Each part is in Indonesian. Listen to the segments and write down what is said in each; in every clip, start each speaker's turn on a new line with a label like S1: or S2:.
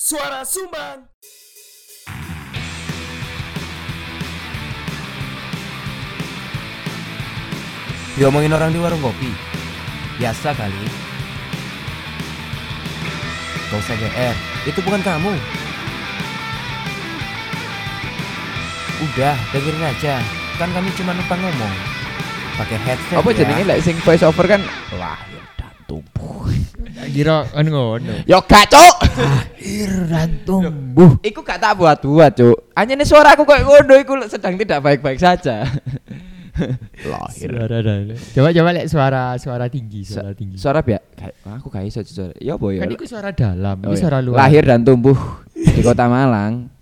S1: Suara Sumbang.
S2: Diomongin orang di warung kopi Biasa kali Gak usah GR Itu bukan kamu Udah, dengerin aja Kan kami cuma numpang ngomong pakai headset
S3: apa
S2: ya.
S3: jenenge lek sing voice over kan wah ya dan tumbuh
S4: Kira kan ngono.
S3: yo gak cuk
S4: Iran tumbuh.
S3: iku gak tak buat-buat cuk anyane suaraku kok ngono iku sedang tidak baik-baik saja lahir
S4: Suara dan. Coba coba lek suara suara tinggi, suara tinggi.
S3: suara biak gak- aku gak iso jujur ya apa ya
S4: Kan itu suara dalam,
S3: Oh, iya.
S4: ini suara luar.
S3: lahir dan tumbuh di kota Malang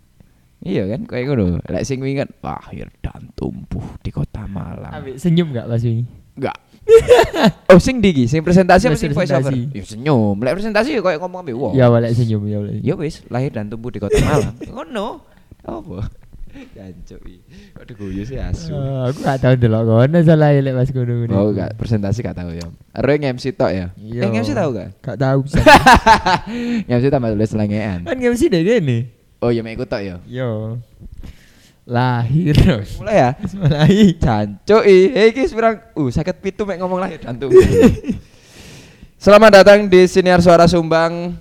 S3: iya kan kayak ngono lek sing wingi kan lahir dan tumbuh di kota Malang
S4: Ambil senyum gak Mas Wingi?
S3: enggak oh sing digi sing presentasi apa
S4: Wes
S3: sing voice over
S4: presentasi.
S3: ya senyum lek presentasi ya kayak ngomong ambil wong
S4: Ya boleh senyum ya boleh.
S3: Ya wis, lahir dan tumbuh di Kota Malang. Ngono. Apa? Jancuk iki. Kok diguyu sih asu.
S4: Eh, aku gak tahu delok kono salah ya, lek Mas Gunung.
S3: Oh, gak presentasi gak tahu ya. Roy MC tok ya.
S4: Iya.
S3: Eh, MC tahu gak?
S4: Gak tahu bisa.
S3: MC tambah tulis lengean.
S4: Kan MC dari ini.
S3: Oh, ya mek ikut tok ya.
S4: Yo. Lahir.
S3: Mulai ya.
S4: Wis Mulai.
S3: Jancuk i. Hei iki pirang? Uh, sakit pitu mek ngomong ya, lahir dan tumbuh. Selamat datang di Siniar Suara Sumbang.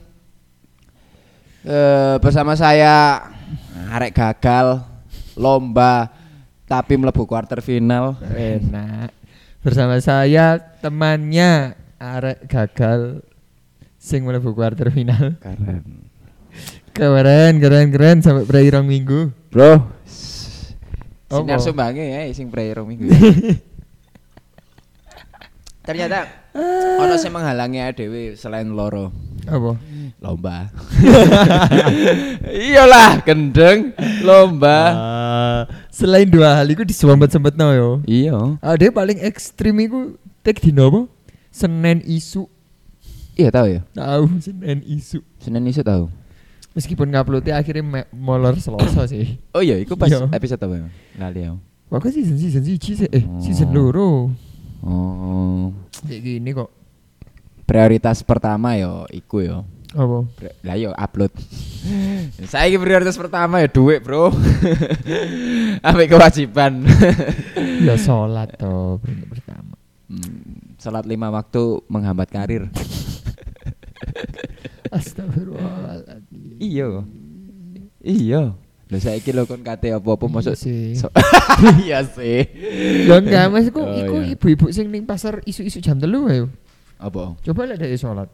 S3: Eh, bersama saya arek gagal lomba tapi mlebu quarter final.
S4: Enak. Bersama saya temannya arek gagal sing mlebu kuarter final.
S3: Keren.
S4: Keren, keren, keren sampai prai rong minggu.
S3: Bro. s-
S4: Apa?
S3: Sinar sumbange ya sing prayer minggu. Ternyata ono sing menghalangi dhewe selain loro.
S4: Apa?
S3: Lomba. Iyalah, gendeng lomba.
S4: Eh, selain dua hal itu disempet-sempet no yo.
S3: Iya.
S4: Ada paling ekstrim itu tek dino apa? Senin isu.
S3: Iya tahu ya.
S4: Tahu Senin isu.
S3: Senin iso tahu.
S4: Meskipun nguploadnya akhirnya me- molor Selasa sih.
S3: Oh iya, iku pas
S4: Iya.
S3: episode apa ya? Lali aku.
S4: Waktu season season siji sih, eh season
S3: Oh.
S4: loro.
S3: Oh.
S4: Kayak gini kok.
S3: Prioritas pertama yo iku yo.
S4: Apa?
S3: Pri- Lah yo upload. Saya prioritas pertama ya duit, Bro. Ambek kewajiban.
S4: ya sholat toh perintah pertama.
S3: Hmm, Salat lima waktu menghambat karir.
S4: Astagfirullahaladzim.
S3: Iya. Iya. Lho saiki lho kon kate apa-apa masuk.
S4: sih.
S3: so- Iya sih.
S4: Ya enggak, mas iku
S3: Oh,
S4: iku
S3: iya.
S4: ibu-ibu sing ning pasar isu-isu jam telu ayo.
S3: Apa?
S4: Coba lihat dari sholat.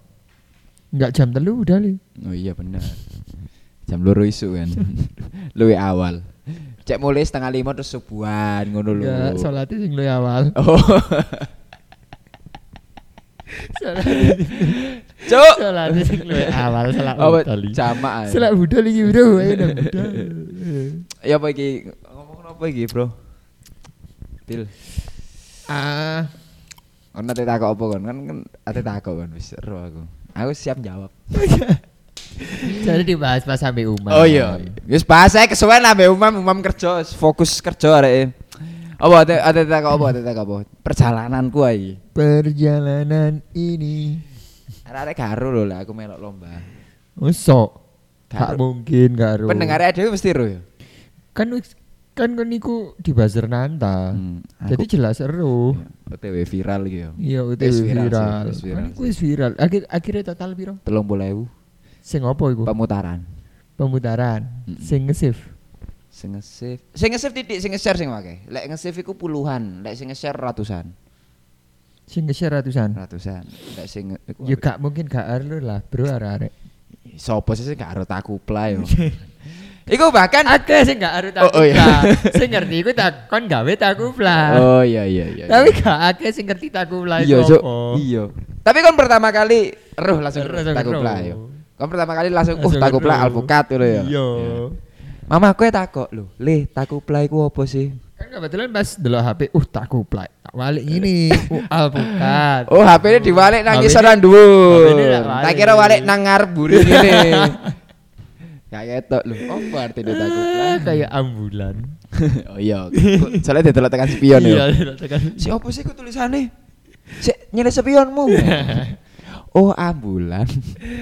S4: Enggak jam telu udah li.
S3: Oh iya benar. Jam loro isu kan. Luwe awal. Cek mulai setengah lima terus subuhan ngono lho.
S4: Enggak, sholatnya sing lu awal.
S3: Oh.
S4: Sholatnya
S3: Cuk.
S4: sholatnya sing lu awal sholat
S3: Apa
S4: tali.
S3: jamaah. ya?
S4: Sholat budal iki bro, ayo nang budal.
S3: Ya apa iki? Ngomong apa iki, Bro? Til.
S4: Ah,
S3: Ono ate takok apa kon? Kan kan ate takok kon wis ero aku. Aku siap jawab.
S4: jadi dibahas pas sampai umat.
S3: Oh iya. Wis bahas ae kesuwen lah mbek Umam, Umam kerja, fokus kerja areke. Apa ate ate takok apa ate takok apa? Perjalananku ae.
S4: Perjalanan ini.
S3: Arek-arek garo lho lah aku melok lomba.
S4: Usok.
S3: Gak
S4: Gak mungkin gak ro.
S3: Pendengar dhewe mesti ro ya.
S4: kan wis- kan kan niku di buzzer nanta.
S3: Hmm,
S4: Jadi jelas seru.
S3: OTW Oh, viral iki ya.
S4: Iya,
S3: Wis
S4: OTW
S3: viral sih, wis
S4: viral.
S3: viral
S4: Kan
S3: sih.
S4: iku wis viral. Akhir akhirnya total piro?
S3: 30.000
S4: Sing opo iku?
S3: pemutaran.
S4: Pemutaran.
S3: Mm-mm.
S4: Sing nge-save.
S3: Sing nge-save. Sing nge-save titik, sing nge-share sing wae. Lek nge-save iku puluhan, lek sing nge-share ratusan.
S4: Sing nge-share ratusan.
S3: Ratusan. Lek sing iku
S4: Ya gak mungkin gak arlo lah, Bro arek-arek.
S3: Sopo sih sing gak arep tak kuplai yo. Iku bahkan
S4: Oke, Kan sing gak arep
S3: Oh, oh iya.
S4: lah. Sing ngerti iku tak kon gawe taku pula.
S3: Oh iya iya iya.
S4: Ah. Tapi gak akeh sing ngerti taku pula
S3: iya,
S4: iku
S3: Cuk.
S4: opo.
S3: Iya. Tapi kon pertama kali roh langsung
S4: Roh langsung
S3: takut
S4: roh.
S3: lah yo. Kon pertama kali langsung uh
S4: Langsung
S3: takut
S4: roh.
S3: lah alpukat ngono ya.
S4: Iya.
S3: Mama aku takok lho, "Le, takupla iku apa sih?"
S4: Kan kebetulan pas delok HP, uh tak kuplak. Tak balik ini. Uh alpukat.
S3: Oh, HP-ne diwalik nang
S4: HP-ne-
S3: ngisoran dhuwur.
S4: HP-ne tak walik.
S3: Tak kira walik nang ngarep buri ngene. Gak ketok lho. Apa artine takupla?
S4: Ah, kayak ambulan.
S3: oh iya. Soalnya didelok tekan spion ya.
S4: Iya, tekan.
S3: Si opo sih ku tulisane? Si nyele spionmu. oh ambulan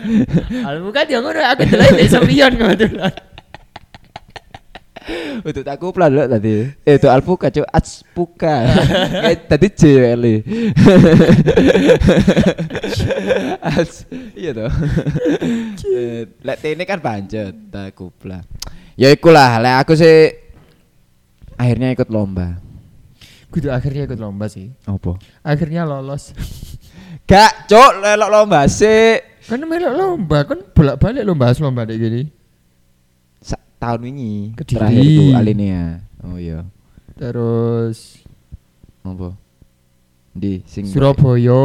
S4: Kalau bukan dia ya ngono aku delok ndek sampeyan ngono delok.
S3: untuk aku pelan lo tadi eh itu alpuka cuy atspuka kayak Eh, tadi J kali Ats iya toh Eh, lek ini kan pancet aku pelan ya ikulah lek aku sih akhirnya ikut lomba
S4: Kudu akhirnya ikut lomba sih.
S3: opo
S4: Akhirnya lolos.
S3: gak cok lelok lomba sih
S4: Kan melok lomba, kan bolak-balik lomba bahas lomba dek gini.
S3: Sa- tahun ini
S4: Kediri.
S3: terakhir itu Alinea oh iya
S4: Terus
S3: opo di sing
S4: Surabaya.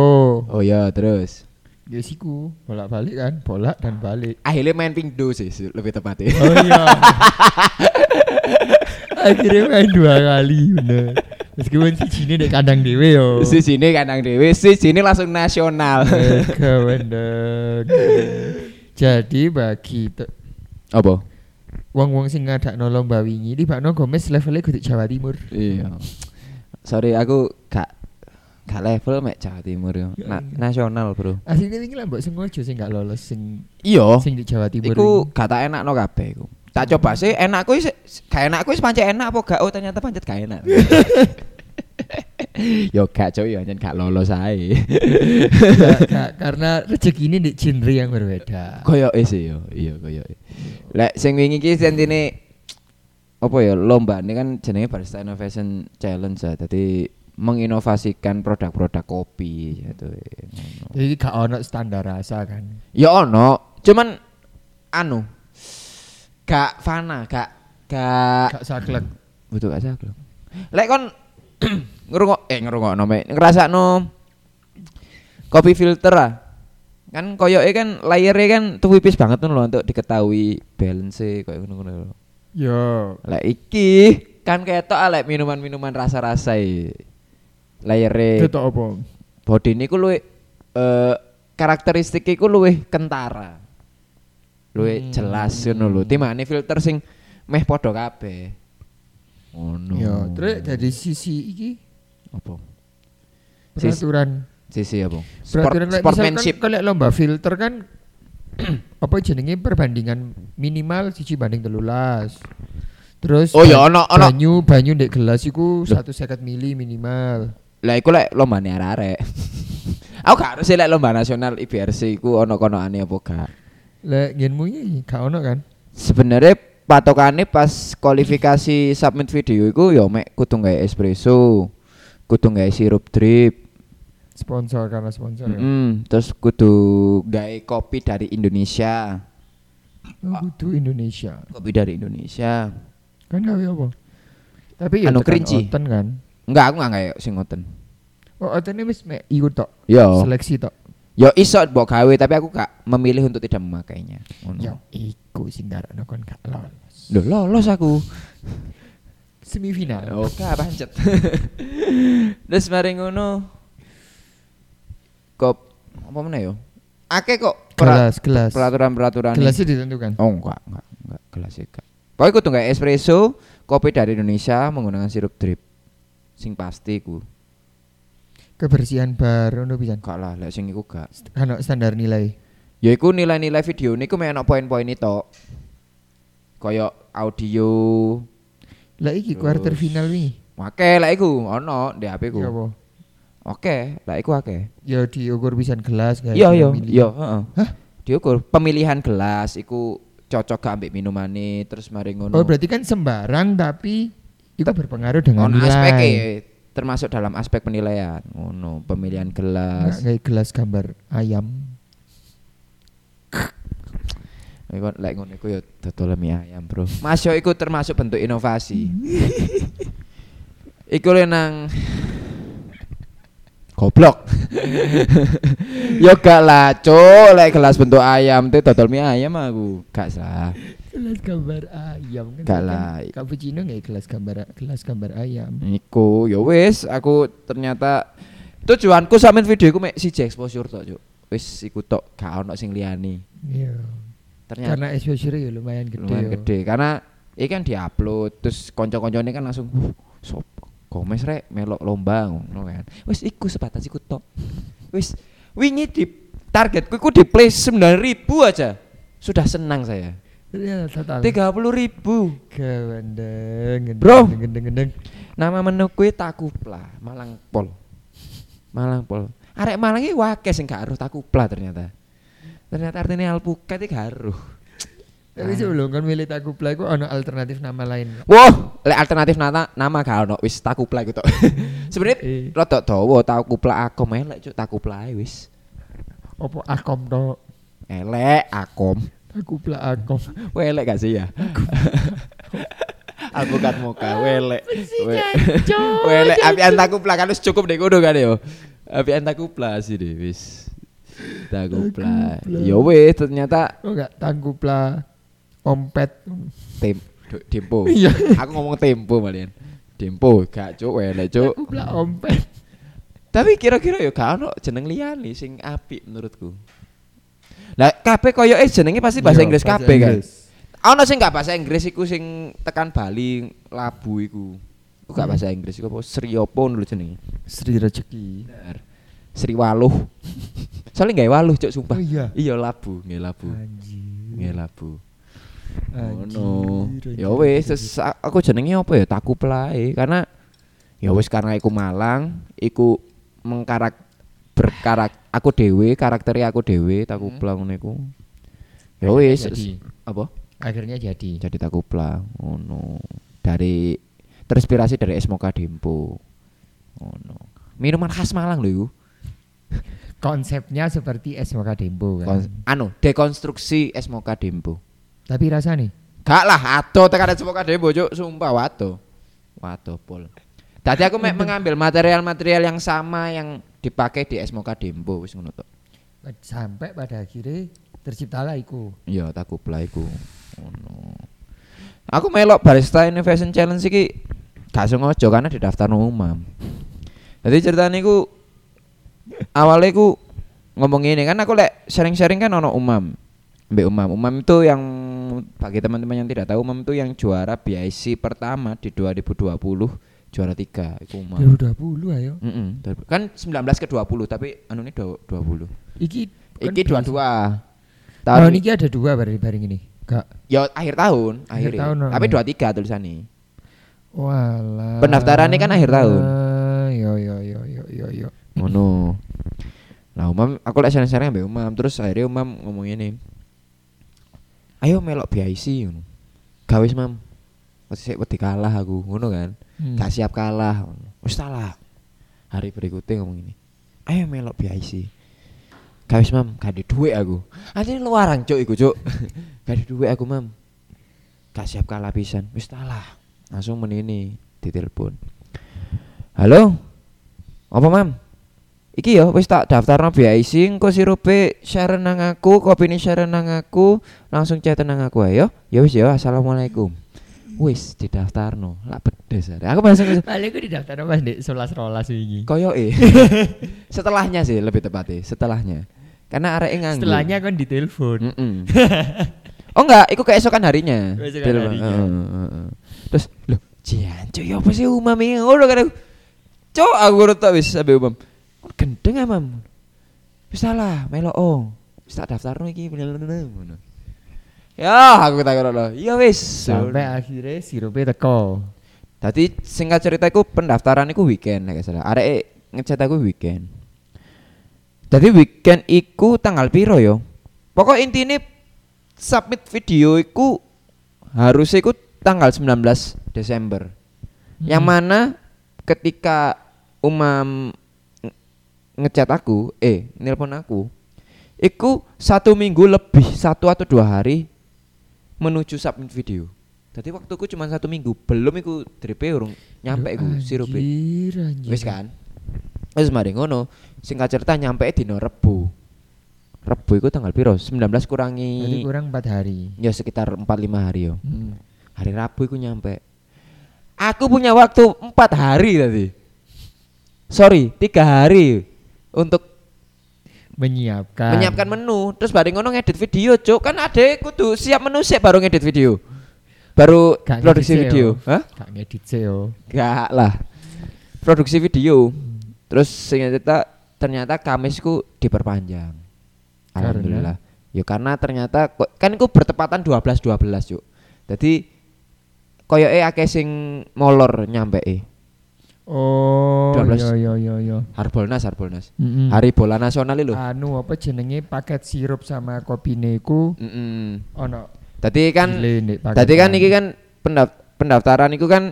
S3: oh iya terus
S4: Ya siku, bolak-balik kan, bolak dan balik.
S3: akhirnya main pingdo sih se- lebih tepatnya
S4: Oh iya. Akhirnya main dua kali bener. Meskipun si Cini dek kandang dewe yo.
S3: si sini kandang dewe si sini langsung nasional
S4: Mereka bener. Jadi bagi te-
S3: apa
S4: wong-wong sing ngadakno lomba wingi tibakno Gomez levelnya kudu Jawa Timur.
S3: iya sorry aku gak gak level mek Jawa Timur yo Na- nasional bro
S4: Aslinya wingi lah mbok sengaja sing gak lolos sing
S3: iya
S4: sing di Jawa Timur.
S3: iku gak tak enak no kabeh iku tak coba sih enak aku gak enak aku pancet enak apa gak oh ternyata pancet gak enak yo gak cok yo nyen gak lolos ae
S4: wingi. Gak- gak- karena rezeki ini di genre yang berbeda.
S3: koyo sih yo iya koyo lek sing wingi iki sentine apa ya lomba ini kan jenenge barista innovation challenge ya jadi menginovasikan produk-produk kopi gitu
S4: Jadi gak ono standar rasa kan.
S3: ya ono cuman anu gak fana gak gak
S4: Gak saklek.
S3: butuh gak saklek lek kon ngerungok eh ngerungok nome ngerasa kopi filter ah kan koyoke kan layernya kan tuwipis banget tuh loh untuk diketahui balance koyo ngono-ngono lho.
S4: Yo,
S3: Lek iki kan ketok ah, lek minuman-minuman rasa-rasa e. Layere
S4: itu apa?
S3: body niku luwih eh karakteristik iku luwih kentara. Luwih jelas ngono lho. Timane filter sing meh padha kabeh. Ngono.
S4: Yo, terus dari sisi iki
S3: apa? Sisi
S4: peraturan.
S3: sisi apa? Sport,
S4: Peraturan like,
S3: sportmanship.
S4: misalkan kalau lomba filter kan apa jenenge perbandingan minimal siji banding telulas. Terus
S3: Oh,
S4: ba-
S3: ya, ono- ono.
S4: banyu banyu ndek gelas iku 150 mili minimal.
S3: Lah iku lek lombane arek-arek. Aku gak harus sih lek lomba nasional IBRC iku ono konoane apa gak.
S4: Lek genmu iki gak ono kan?
S3: sebenarnya patokannya pas kualifikasi submit video itu ya mek kudu gawe espresso kudu gawe sirup drip
S4: Sponsor karena sponsor. ya.
S3: Mm-mm, terus kudu gawe kopi dari Indonesia
S4: Oh, kudu Indonesia.
S3: kopi dari Indonesia
S4: Kan gawe apa? Tapi ya
S3: Anu
S4: tekan
S3: kerinci.
S4: Oten kan.
S3: enggak aku enggak kayak sing ngoten
S4: Oh, otene wis mek iku tok,
S3: yo
S4: seleksi tok.
S3: yo iso mbok gawe tapi aku gak memilih untuk tidak memakainya Ngono.
S4: Ya iku sing ngarakno kon gak lolos.
S3: Loh, lolos aku
S4: Semifinal.
S3: Oke, pancet. Terus mari ngono. Kop apa meneh yo? Akeh kok pera-
S4: Gelas, gelas.
S3: peraturan-peraturan.
S4: Gelasnya ditentukan.
S3: Oh enggak, enggak, enggak gelas ya, enggak. Pokoknya kudu enggak espresso, kopi dari Indonesia menggunakan sirup drip. Sing pasti ku.
S4: Kebersihan bar ono pisan.
S3: Enggak lah, lek sing iku enggak.
S4: Ono standar nilai.
S3: Ya iku nilai-nilai video niku mek ana poin-poin itu. Kayak audio.
S4: Lah iki quarter final wingi.
S3: Oke, lah iku ono di HP
S4: Ya
S3: ku.
S4: apa?
S3: Oke, lah iku akeh.
S4: Ya diukur pisan gelas guys.
S3: Iya iya
S4: Milih.
S3: iya, heeh.
S4: Hah?
S3: Diukur pemilihan gelas iku cocok gak ambek minumane terus mari ngono.
S4: Oh berarti kan sembarang tapi itu berpengaruh dengan
S3: Ono e. aspeke,
S4: nilai.
S3: termasuk dalam aspek penilaian. Ngono, pemilihan
S4: Nggak
S3: gelas.
S4: kayak gelas gambar ayam.
S3: Iku lek ngono iku ya dodol mie ayam, Bro. Mas yo iku termasuk bentuk inovasi. iku le nang goblok. yo gak lah, cuk, lek gelas bentuk ayam te dodol mie ayam aku. Gak salah.
S4: Gelas gambar ayam kan.
S3: Gak lah.
S4: Cappuccino nggak gelas gambar gelas gambar ayam.
S3: Iku ya wis aku ternyata tujuanku sampean video iku mek siji exposure tok juk. Wis iku tok gak ono sing liyane.
S4: Iya.
S3: Ternyata
S4: Karena exposure ya lumayan gede.
S3: lumayan
S4: yo.
S3: gede karena iki kan diupload terus kanca-kancane kan langsung "Wuh, sop Gomez rek melok lomba ngono kan. Wis iku sebatas iku tok. Wis wingi di targetku itu di place 9000 aja. Sudah senang saya.
S4: Ya, total.
S3: 30.000.
S4: Gawandeng.
S3: Bro.
S4: Gendeng, gendeng.
S3: Nama menu kuwi Takupla, Malang Pol. Malang Pol. Arek Malang iki wakes sing gak aruh Takupla ternyata. Ternyata artinya alpukat iki gak aruh. Ah.
S4: Tapi sebelum kan milih Takupla iku ono alternatif nama lain.
S3: Wah, lek alternatif nata, nama gak ono wis Takupla iku tok.
S4: Eh.
S3: Sebenarnya rada dawa Takupla akom elek cuk Takupla ae wis.
S4: Opo Akom to?
S3: Elek akom.
S4: Takupla Akom.
S3: Welek gak sih ya? Alpukat moka, welek. We- Welek, apian takupla kan wis cukup deh kudu kan yo. Apian takupla sih deh wis. Takupla. Yo weh ternyata
S4: Oh enggak, Takupla Ompet.
S3: tem du- tempo.
S4: Iya.
S3: Aku ngomong tempo malian. Tempo gak cuk welek cuk.
S4: Takupla Ompet.
S3: Tapi kira-kira yo gak ono jeneng liyane sing apik menurutku. Lah kabeh koyoke jenenge pasti bahasa
S4: Iya,
S3: Inggris
S4: bahasa
S3: kabeh kan.
S4: Inggris.
S3: Ono sing gak bahasa Inggris iku sing tekan Bali labu iku. Iku gak
S4: Hmm.
S3: bahasa Inggris iku apa Sri apa dulu jenenge.
S4: Sri Rezeki.
S3: Sri Waluh. Soalnya gak waluh cok sumpah.
S4: Oh iya.
S3: Iya labu, nggak labu,
S4: Anjir.
S3: nggak labu.
S4: Anjir,
S3: Ngono.
S4: anjir,
S3: Ya wis,
S4: anjir.
S3: ses- aku jenenge apa ya? Taku play karena ya wis karena iku Malang, iku mengkarak berkarak aku dewe, karakteri aku dewe, taku pla ngono iku. Ya wis,
S4: Jadi.
S3: ses- apa?
S4: Akhirnya jadi.
S3: Jadi taku pla ngono. Dari terinspirasi dari Esmoka Dempo. Ngono. Minuman khas Malang lho iku.
S4: Konsepnya seperti es Moka Dempo kan.
S3: Kon- anu, dekonstruksi Esmoka Dempo.
S4: Tapi rasanya
S3: Gak lah, ato tekan semoga demo cuk, sumpah wato. Wato pol. Tadi aku mek mengambil material-material yang sama yang dipakai di Esmoka Dempo wis ngono tok.
S4: sampai pada akhirnya terciptalah iku.
S3: Iya, tak kuplai ku. Ngono. Aku melok barista Innovation Challenge iki gak sengaja karena di daftar umum. Jadi ceritanya ku awalnya ku ngomong ini kan aku lek sharing-sharing kan ono umam. Mbak umam, umam itu yang bagi teman-teman yang tidak tahu umam itu yang juara BIC pertama di 2020 juara tiga itu umam.
S4: Ya udah puluh ayo.
S3: Mm-mm, dari- kan 19 ke 20 tapi anu ini 20.
S4: Iki kan
S3: Iki 22.
S4: Tahun
S3: Tahun
S4: ini ada dua bareng bareng ini. Kak.
S3: Ya akhir tahun, akhir.
S4: Akhir
S3: ya.
S4: tahun,
S3: Tapi
S4: oh.
S3: 23 tulisannya.
S4: Walah.
S3: Pendaftarannya kan akhir tahun.
S4: Ah, Yo yo yo yo yo yo.
S3: Ngono. Lah Umam, aku lek sering-sering ambek Umam, terus akhirnya Umam ngomong ini. Ayo melok BIC ngono. Gawe Mam. Sik wedi kalah aku, ngono kan.
S4: Hmm.
S3: Gak siap kalah. ngono. Wis kalah. Hari berikutnya ngomong ini. Ayo melok BIC. Gawe Mam, gak ada duit aku. Anjir luaran cuk iku cuk. gak ada duit aku Mam. Gak siap kalah pisan. Wis kalah. Langsung menini ditelepon. Halo? Apa mam? Iki ya wis tak daftarno BIC engko sirupe share nang aku, kopine share nang aku, langsung chat nang aku ayo. Ya wis ya, assalamualaikum. Wis didaftarno, lak pedes ada. Aku bahasa
S4: Paling aku di daftar apa Dek? Sebelas rolas wingi.
S3: koyoke. e. Setelahnya sih lebih tepatnya, setelahnya. Karena areke nganggur.
S4: Setelahnya kan ditelepon.
S3: Mm-mm. oh enggak, itu keesokan harinya.
S4: Keesokan
S3: Del-
S4: harinya.
S3: Heeh, heeh, heeh. Terus, loh, jian cuy, apa sih umam ini? Ngono kan aku. Cok, aku urut tak wis sampe umam. Kon Gendeng ya, Mam. Wis salah, melo oh. Wis tak daftarno iki bener-bener ngono. Ya, aku tak kira Iya wis.
S4: Sampai akhirnya sirupnya
S3: Hmm.
S4: teko.
S3: Tadi singkat cerita iku pendaftaran iku weekend nek gak salah. Arek ngechat aku weekend. Jadi weekend iku tanggal piro yo? Pokok intine submit video iku harus iku tanggal 19 Desember. Yang
S4: Hmm.
S3: mana ketika Umam nge- ngechat aku, eh nelpon aku, iku satu minggu lebih satu atau dua hari menuju submit video. Jadi waktuku cuma satu minggu, belum iku dripe urung nyampe iku sirupe.
S4: Anjir, anjir.
S3: Wis kan. Wis mari ngono. Singkat cerita nyampe dino Rebo. Rebo iku tanggal piro? 19
S4: Berarti
S3: kurangi
S4: kurang 4 hari.
S3: ya sekitar 4 5 hari yo.
S4: Hmm.
S3: Hari Rabu iku nyampe. Aku punya waktu 4 hari tadi. Sorry, tiga hari untuk
S4: Menyiapkan.
S3: menyiapkan menu. Terus bareng ngono ngedit video, Cuk. Kan adek kudu siap menu sik baru ngedit video. Baru
S4: Gak ngedit
S3: produksi
S4: sih, yo.
S3: video. Hah?
S4: Gak ngedit sih, yo.
S3: Gak lah. Produksi video. Terus singkat cerita ternyata Kamisku diperpanjang.
S4: Karena?
S3: Alhamdulillah. Ya karena ternyata ko- kan iku bertepatan 12 12, Cuk. Dadi koyoke akeh sing molor nyampe e.
S4: Oh,
S3: 12.
S4: iya iya iya iya.
S3: Harbolnas, Harbolnas.
S4: Mm-mm.
S3: Hari bola nasional lho.
S4: anu apa jenenge paket sirup sama kopine iku
S3: Heeh.
S4: ono
S3: Dadi kan
S4: delay ndek paketan.
S3: Tadi kan ini kan pendaft- pendaftaran itu kan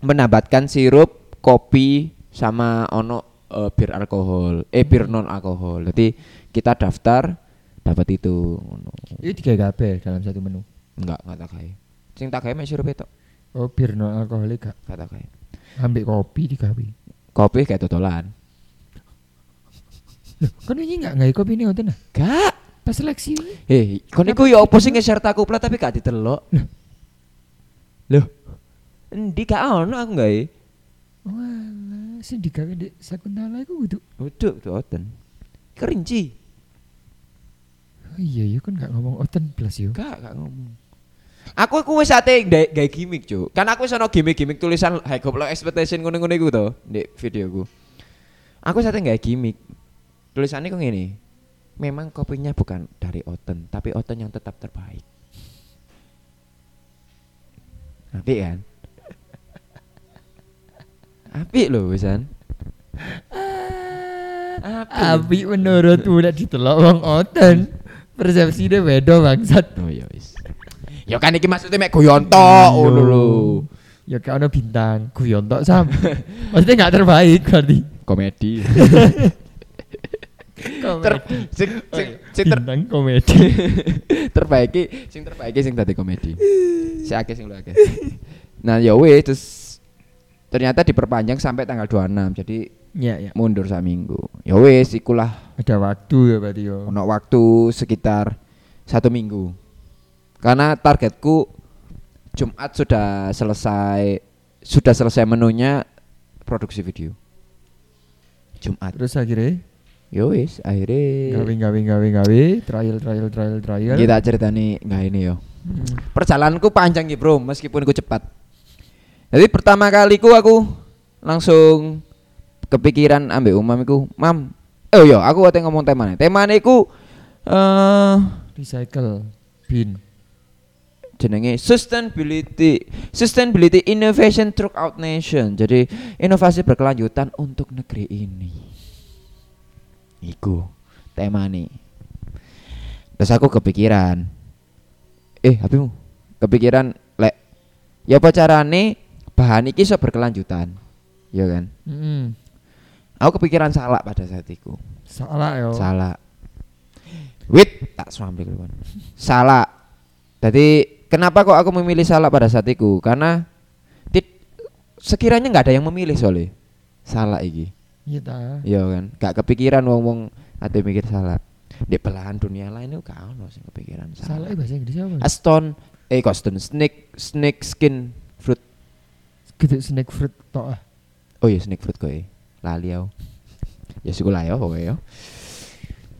S3: menambatkan sirup, kopi sama ono eh, bir alkohol, eh bir non alkohol. Jadi kita daftar dapat itu. Ngono.
S4: Iki tiga kabeh dalam satu menu.
S3: Enggak, enggak tak kae. Sing tak kae mek sirup itu,
S4: Oh, bir non alkoholik gak.
S3: enggak tak kae.
S4: Ambek kopi digawe.
S3: Kopi kayak totolan.
S4: Kan wingi gak gawe kopi ne ngoten ah.
S3: Gak.
S4: Pas seleksi wingi.
S3: Eh, kon iku ya opo sing ngeser tak kuplat tapi gak ditelok. Loh. Endi gak ono aku gawe.
S4: Walah, sing digawe ndek Sakuntala iku kudu.
S3: Waduh, oten. Kerinci.
S4: Oh, iya iya kan gak ngomong oten plus yo.
S3: Enggak, enggak ngomong. Aku iku wis ate ndek gawe gimmick, Cuk. Kan aku wis ono gimmick-gimmick tulisan high goal expectation ngono-ngono iku to, ndek videoku. Aku wis ate gawe gimmick. Tulisannya kok ngene. Memang kopinya bukan dari Oten, tapi Oten yang tetap terbaik. Apik kan? Apik lho, wisan. Ah,
S4: Api menurutmu nek ditelok wong oten. Persepsine beda bangsat.
S3: Oh ya wis. Iya. Ya kan iki maksudnya mek guyon tok ngono lho.
S4: Iya. Ya kayak ono bintang, guyon tok sam. Maksudnya gak terbaik berarti.
S3: Komedi. ter
S4: Komedi.
S3: sing sing sing ter
S4: bintang komedi.
S3: terbaiki sing terbaiki sing tadi komedi si akeh sing lu akeh nah ya weh terus ternyata diperpanjang sampai tanggal 26 jadi
S4: Ya ya.
S3: mundur satu minggu ya wes ikulah
S4: Ada waktu ya berarti yo.
S3: ono waktu sekitar satu minggu karena targetku Jumat sudah selesai sudah selesai menunya produksi video Jumat
S4: Terus akhirnya
S3: ya wes akhirnya
S4: gawe gawe gawe gawe trial trial trial trial.
S3: kita cerita nih nggak ini yo
S4: Hmm.
S3: perjalananku panjang ya bro meskipun ku cepat jadi pertama kali ku aku langsung kepikiran ambek umam iku mam oh yo aku waktu ngomong temane temane ku eh
S4: Recycle bin.
S3: jenenge sustainability sustainability innovation throughout nation jadi inovasi berkelanjutan untuk negeri ini iku tema nih terus aku kepikiran eh HPmu kepikiran lek ya apa carane bahan iki iso berkelanjutan ya kan
S4: Mm-mm.
S3: aku kepikiran salah pada saat itu
S4: Salah yo.
S3: Salah. Wit, tak swampe keluar. Salah. Jadi kenapa kok aku memilih salah pada saat itu? Karena tit- sekiranya nggak ada yang memilih soalnya salah iki.
S4: Iya ta.
S3: Iya kan? Gak kepikiran wong-wong ate mikir salah. Di belahan dunia lain itu gak ono sing kepikiran
S4: Salah ya,
S3: salah.
S4: bahasa Inggris apa?
S3: Aston eh kok Aston snake snake skin fruit.
S4: Gede snack fruit tok ah.
S3: Oh iya snake fruit koe. Lali aku. Ya sikulah ya kowe ya.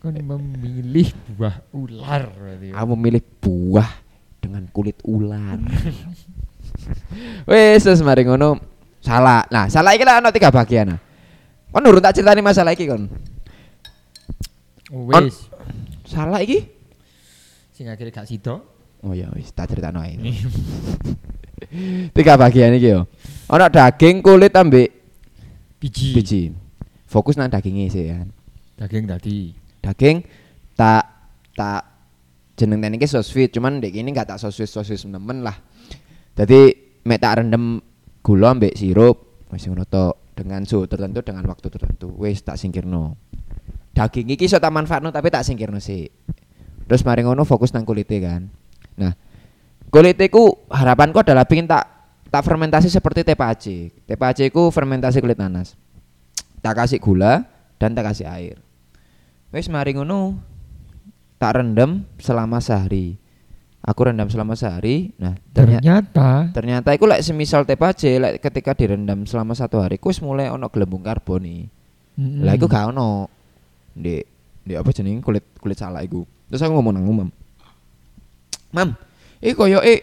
S4: Kan memilih buah ular berarti. yo.
S3: Aku memilih buah dengan kulit ular. Wes, terus mari ngono. Salah. Nah, salah iki lah ono tiga bagian. Nah. Kon urun tak critani masalah iki kon.
S4: Oh, Wis.
S3: Salah iki?
S4: Sing akhirnya gak sido.
S3: Oh ya wis, tak critakno ae. tiga bagian iki yo. Ono daging, kulit ambek
S4: Biji.
S3: biji. Fokus nang e daginge sih ya.
S4: Daging tadi.
S3: Daging tak tak jeneng tekniknya sosfit, cuman dek ini nggak tak sosfit sosfit nemen lah. Jadi mek tak rendem gula ambek sirup masih ngono tok dengan suhu tertentu dengan waktu tertentu. Wis tak singkirno. Daging iki iso tak manfaatno tapi tak singkirno sih. Terus mari ngono fokus nang kulite kan. Nah, kulite ku harapanku adalah pingin tak tak fermentasi seperti teh pacik. Teh pacik ku fermentasi kulit nanas. Tak kasih gula dan tak kasih air. Wis mari ngono tak rendam selama sehari. Aku rendam selama sehari. Nah, ternyata
S4: Ternyata
S3: Ternyata iku lek semisal teh pacé lek ketika direndam selama satu hari iku wis mulai ono gelembung karbon nih.
S4: Mm-mm.
S3: Lah iku gak ono. Ndek, ndek apa jenenge kulit kulit salak iku. Terus aku ngomong nang Mam. Mam, iki koyoke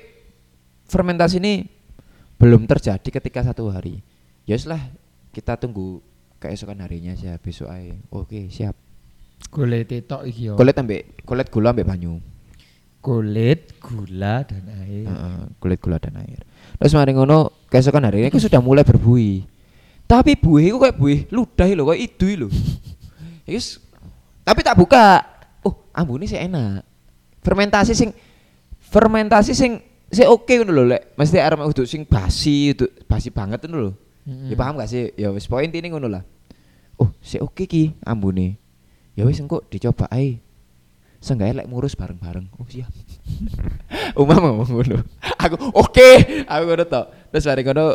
S3: fermentasi ini belum terjadi ketika satu hari. Ya wis lah, kita tunggu keesokan harinya aja besok ae. Oke, siap.
S4: Kulit tetok iki yo.
S3: Kulit ambek kulit gula ambek banyu.
S4: Kulit, gula dan air.
S3: Heeh, kulit gula dan air. Terus mari ngono, keesokan hari ini aku sudah mulai berbuih. Tapi buih iku kayak buih ludah lho, kayak idu lho. Yes. Tapi tak buka. Oh, ambune sih enak. Fermentasi sing fermentasi sing sih oke ngono lho lek. Mesti arep uduk sing basi, uduk basi banget ngono lho.
S4: Mm-mm.
S3: Ya paham gak sih? Ya wis poin ini ngono lah. Oh, sih oke ki ambune. Ya wis engko dicoba ae. Seenggaknya lek ngurus bareng-bareng. Oh siap. Uma mau ngono. Aku oke, aku ngono tok. Terus bareng ngono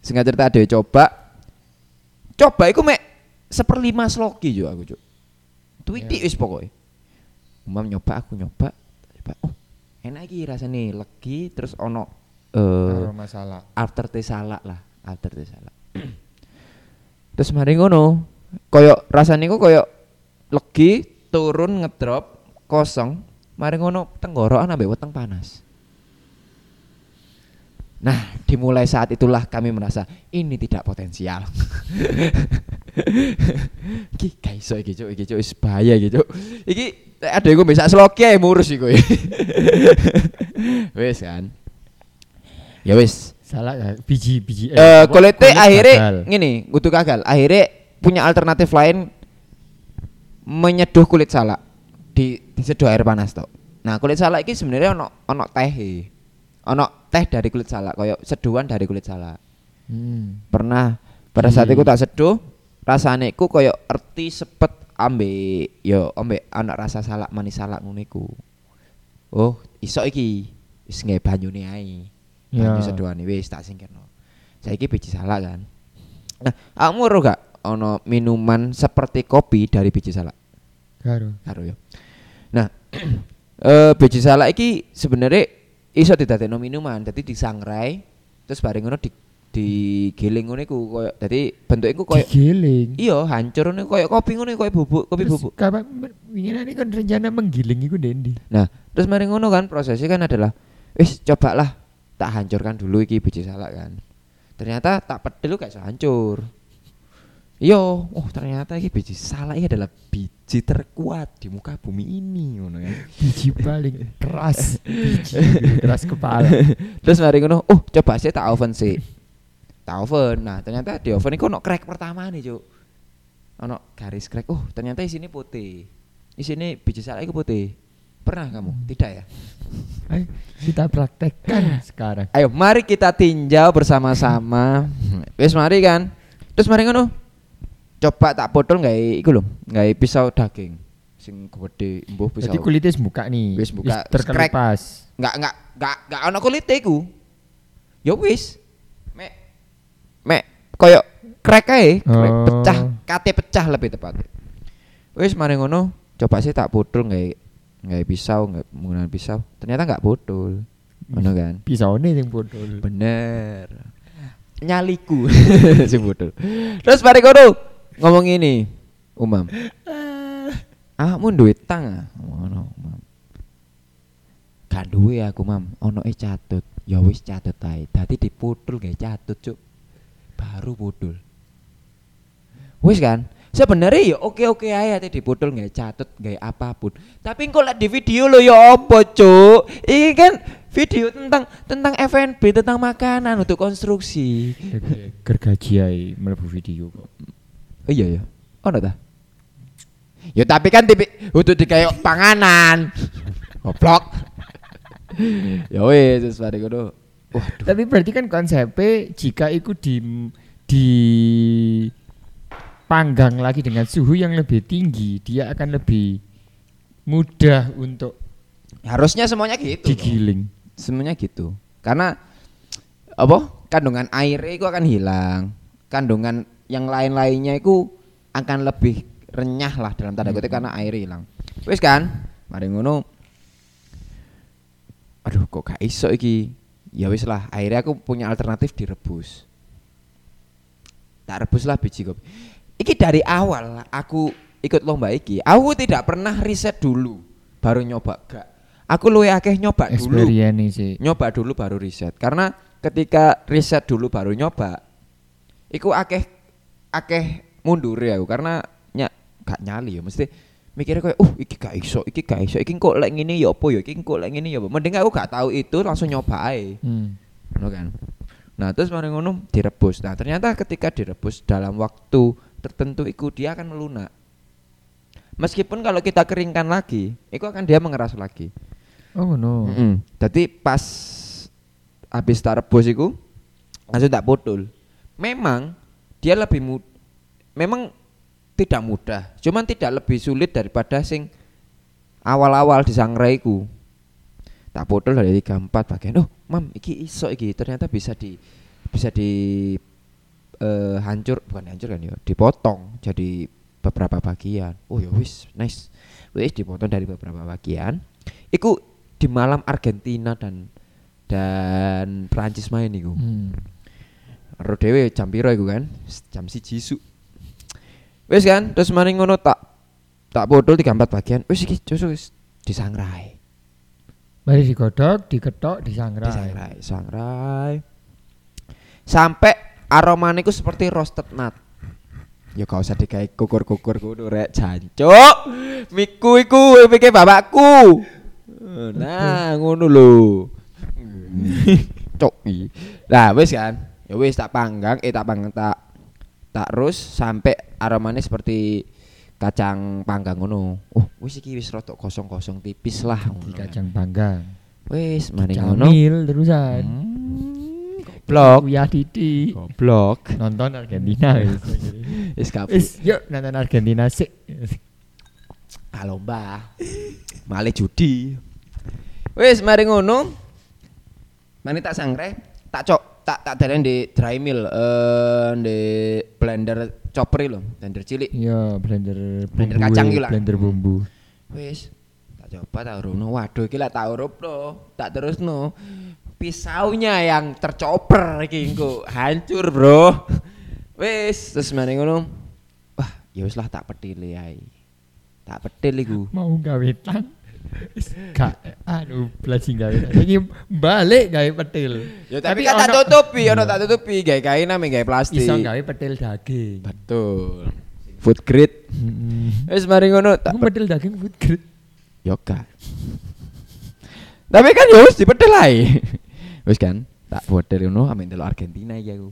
S3: sengaja cerita dhewe coba. Coba iku mek seperlima sloki yo aku, Cuk. Tuitik
S4: Ya.
S3: wis pokoke. Umam nyoba aku nyoba. Coba. Oh, enak iki rasane legi terus ono eh
S4: Aroma salak.
S3: aftertaste salak lah, aftertaste salak. Terus mari ngono, koyo rasane ku koyo legi, turun ngedrop, kosong. Mari ngono tenggorokan ambek weteng panas. Nah, dimulai saat itulah kami merasa ini tidak potensial. Ki gak iso iki cuk, iki cuk wis bahaya iki cuk. Iki ada iku bisa sloki ae ngurus iku. wis kan. Ya wis,
S4: Salak ya, biji-biji.
S3: Eh, Kolete
S4: kulit bakal.
S3: akhirnya ngene, kudu gagal. Akhirnya punya alternatif lain menyeduh kulit salak di diseduh air panas tok. Nah, kulit salak ini sebenarnya ono ono teh. e. Ono teh dari kulit salak, koyo seduhan dari kulit salak. Eh.
S4: Hmm.
S3: Pernah pada saat
S4: Hmm.
S3: itu tak seduh, rasane iku koyo erti sepet ambe yo ambe ana rasa salak manis salak ngono iku. Oh, iso iki wis nggae banyune ae. Banyu
S4: Ya.
S3: seduhane wis tak singkirno. Saiki biji salak kan. Nah, kamu ro gak ono minuman seperti kopi dari biji salak?
S4: Karo.
S3: Karo yo. Nah, eh biji salak iki sebenarnya iso didadekno minuman, dadi disangrai terus bareng ngono di digiling ngono iku koyo dadi bentuke iku koyo
S4: Digiling.
S3: iya hancur ngono koyo kopi ngono koyo bubuk, kopi
S4: Terus
S3: bubuk.
S4: Kapan winginan ini kan rencana menggiling iku Dendi.
S3: Nah, terus mari ngono kan prosesnya kan adalah wis cobalah tak hancurkan dulu iki biji salak kan. Ternyata tak pedel gak iso hancur. Yo, oh ternyata iki biji salak ini adalah biji terkuat di muka bumi ini ngono kan.
S4: Biji paling keras, biji paling keras kepala.
S3: Terus mari ngono, oh coba sih tak oven sih. Tak oven. Nah, ternyata di oven iku ono crack pertama nih, Cuk. Ono garis crack. Oh, ternyata isine putih. Isine biji salak iku putih. Pernah kamu? Tidak ya?
S4: Ayo kita praktekkan sekarang.
S3: Ayo mari kita tinjau bersama-sama. Wis mari kan. Terus mari ngono. Coba tak potol nggak iku lho, nggak pisau daging. Sing gede mbuh pisau.
S4: Jadi kulitnya wis buka nih.
S3: Wis buka, wis
S4: terkelupas.
S3: Nggak nggak nggak nggak ono kulit iku. Ya wis. Mek mek koyo krek ae, krek
S4: Oh.
S3: pecah, kate pecah lebih tepatnya. Wis mari ngono, coba sih tak potol nggak nggak pisau, nggak menggunakan pisau. Ternyata nggak potol. Ngono kan.
S4: Pisaunya yang bodol.
S3: Bener. Nyaliku si bodoh. Terus mari kono ngomong ini, Umam. Ah, mun duit tang ah. Ngono, Umam. Gak duwe aku, Mam. Ono e catut. Ya wis catut ae. Dadi diputul gak catut, Cuk. Baru putul. Wis kan? Sebenarnya ya oke-oke aja tadi dipotol nggak catut nggak apapun. Tapi engko lek di video lo ya opo cuk? Ini kan video tentang tentang F&B tentang makanan untuk konstruksi.
S4: Gergajiai melebu video kok.
S3: Oh, iya ya. Ono ta? Ya tapi kan tipi untuk dikayak panganan. Goblok. ya wis wis mari ngono. Wah,
S4: Tapi berarti kan konsepnya jika itu di di panggang lagi dengan suhu yang lebih tinggi, dia akan lebih mudah untuk
S3: harusnya semuanya gitu. loh.
S4: digiling.
S3: semuanya gitu karena apa kandungan air itu akan hilang kandungan yang lain-lainnya itu akan lebih renyah lah dalam tanda kutip karena air hilang wis kan mari ngono aduh kok gak iso iki ya wis lah akhirnya aku punya alternatif direbus tak rebus lah biji kopi iki dari awal aku ikut lomba iki aku tidak pernah riset dulu baru nyoba gak aku luwe akeh nyoba dulu
S4: Experience nih sih.
S3: nyoba dulu baru riset karena ketika riset dulu baru nyoba iku akeh akeh mundur ya aku karena nyak gak nyali ya mesti mikirnya kayak uh iki gak iso iki gak iso iki kok lek ngene ya apa ya iki kok lek ngene ya apa mending aku gak tahu itu langsung nyoba ae
S4: Hmm.
S3: Ngono kan nah terus mari ngono direbus nah ternyata ketika direbus dalam waktu tertentu itu dia akan melunak meskipun kalau kita keringkan lagi itu akan dia mengeras lagi
S4: Oh no.
S3: Mm-mm. Jadi pas habis tak rebus iku langsung tak putul. Memang dia lebih mud memang tidak mudah, cuman tidak lebih sulit daripada sing awal-awal disangraiku. Tak putul dari tiga empat bagian. Oh, mam, iki iso iki ternyata bisa di bisa di eh, hancur bukan hancur kan ya, dipotong jadi beberapa bagian. Oh ya wis, nice. Wis dipotong dari beberapa bagian. Iku di malam Argentina dan dan Prancis main iku.
S4: Hmm.
S3: Ro dhewe jam piro iku kan? S- Jam 1 isuk. Wis kan, terus mari ngono tak tak bodol 34 bagian. Wis iki cusuk wis disangrai.
S4: Mari digodok, diketok, disangrai.
S3: Disangrai, sangrai. Sampai aromane iku seperti roasted nut. Ya gak usah digawe kukur-kukur ngono rek, jancuk. Miku iku pikir bapakku. Nah, ngono lho. Cok i. Nah, wis kan. Ya wis tak panggang, eh tak panggang tak tak rus sampai aromanya seperti kacang panggang ngono. Oh, wis iki wis rotok kosong-kosong tipis lah.
S4: Di
S3: ngono kan.
S4: kacang panggang.
S3: Wis mari ngono.
S4: Camil terusan.
S3: Hmm, Goblok.
S4: Uyah Didi.
S3: Goblok.
S4: Nonton Argentina wis.
S3: Wis kabeh.
S4: Wis, yuk nonton Argentina sik.
S3: Kalomba. Male judi. Wis mari ngono. Mari tak sangrai, tak cok, tak tak dalen di dry mill eh di blender chopper lho, blender cilik.
S4: Iya, blender bumbu.
S3: Blender kacang
S4: weh,
S3: iki lah. Hmm.
S4: Blender bumbu.
S3: Wis, tak coba tak urupno. Waduh, iki lek tak urupno, tak terusno. Pisaunya yang tercoper iki engko hancur, Bro. Wis, terus mari ngono. Wah, ya wis lah tak petil ae. Tak petil iku.
S4: Mau gawe tang. Wis, Gak anu blas sing gawe. tang. Iki balik gawe petil.
S3: Ya tapi, kan tak
S4: ono-
S3: tutupi, ono tak tutupi, gawe kain ame gawe plastik.
S4: Iso gawe petil daging.
S3: Betul. Food grade.
S4: Heeh.
S3: Wis mari ngono tak
S4: Iku petil daging food grade.
S3: yoga. tapi kan ya wis dipetil ae. wis kan, tak bodel ngono ame delok Argentina iki aku.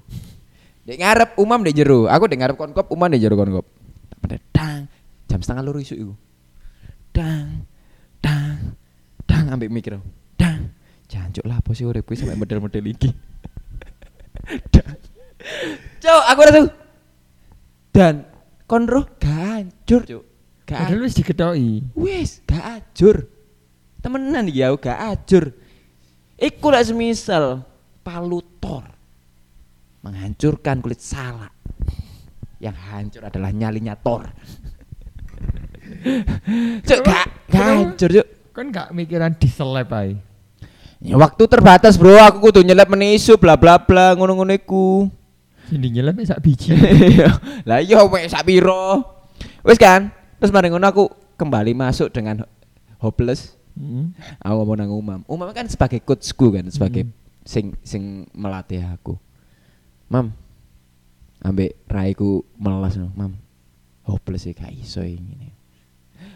S3: Dek ngarep umam dek jero, aku dek ngarep konkop umam dek jero konkop. Tak pedel dang, jam setengah loro isuk iku. Dang, dang, dang ambek mikir. Dang. Jancuk lah apa sih urip kuwi sampe model-model iki. dang. Cuk, aku rasa dan konro gancur, cuk. Gak
S4: Padahal wis diketoki.
S3: Wis, gak ajur. Temenan iki aku gak ajur. Iku lek semisal palutor menghancurkan kulit salak. Yang hancur adalah nyalinya tor. cuk, gak, gak hancur, cuk.
S4: Kan gak mikiran diselep ae.
S3: Ya, waktu terbatas, Bro. Aku kudu nyelip menisu bla bla bla ngono-ngono iku.
S4: Sini nyelep sak biji.
S3: lah iya wek sak piro. Wis kan? Terus mari ngono aku kembali masuk dengan ho- hopeless.
S4: Heeh.
S3: aku ngomong nang Umam. Umam kan sebagai coachku kan, sebagai
S4: Mm.
S3: sing sing melatih aku. Mam, ambek raiku melas no. Mam, hopeless ya gak iso ya ngene.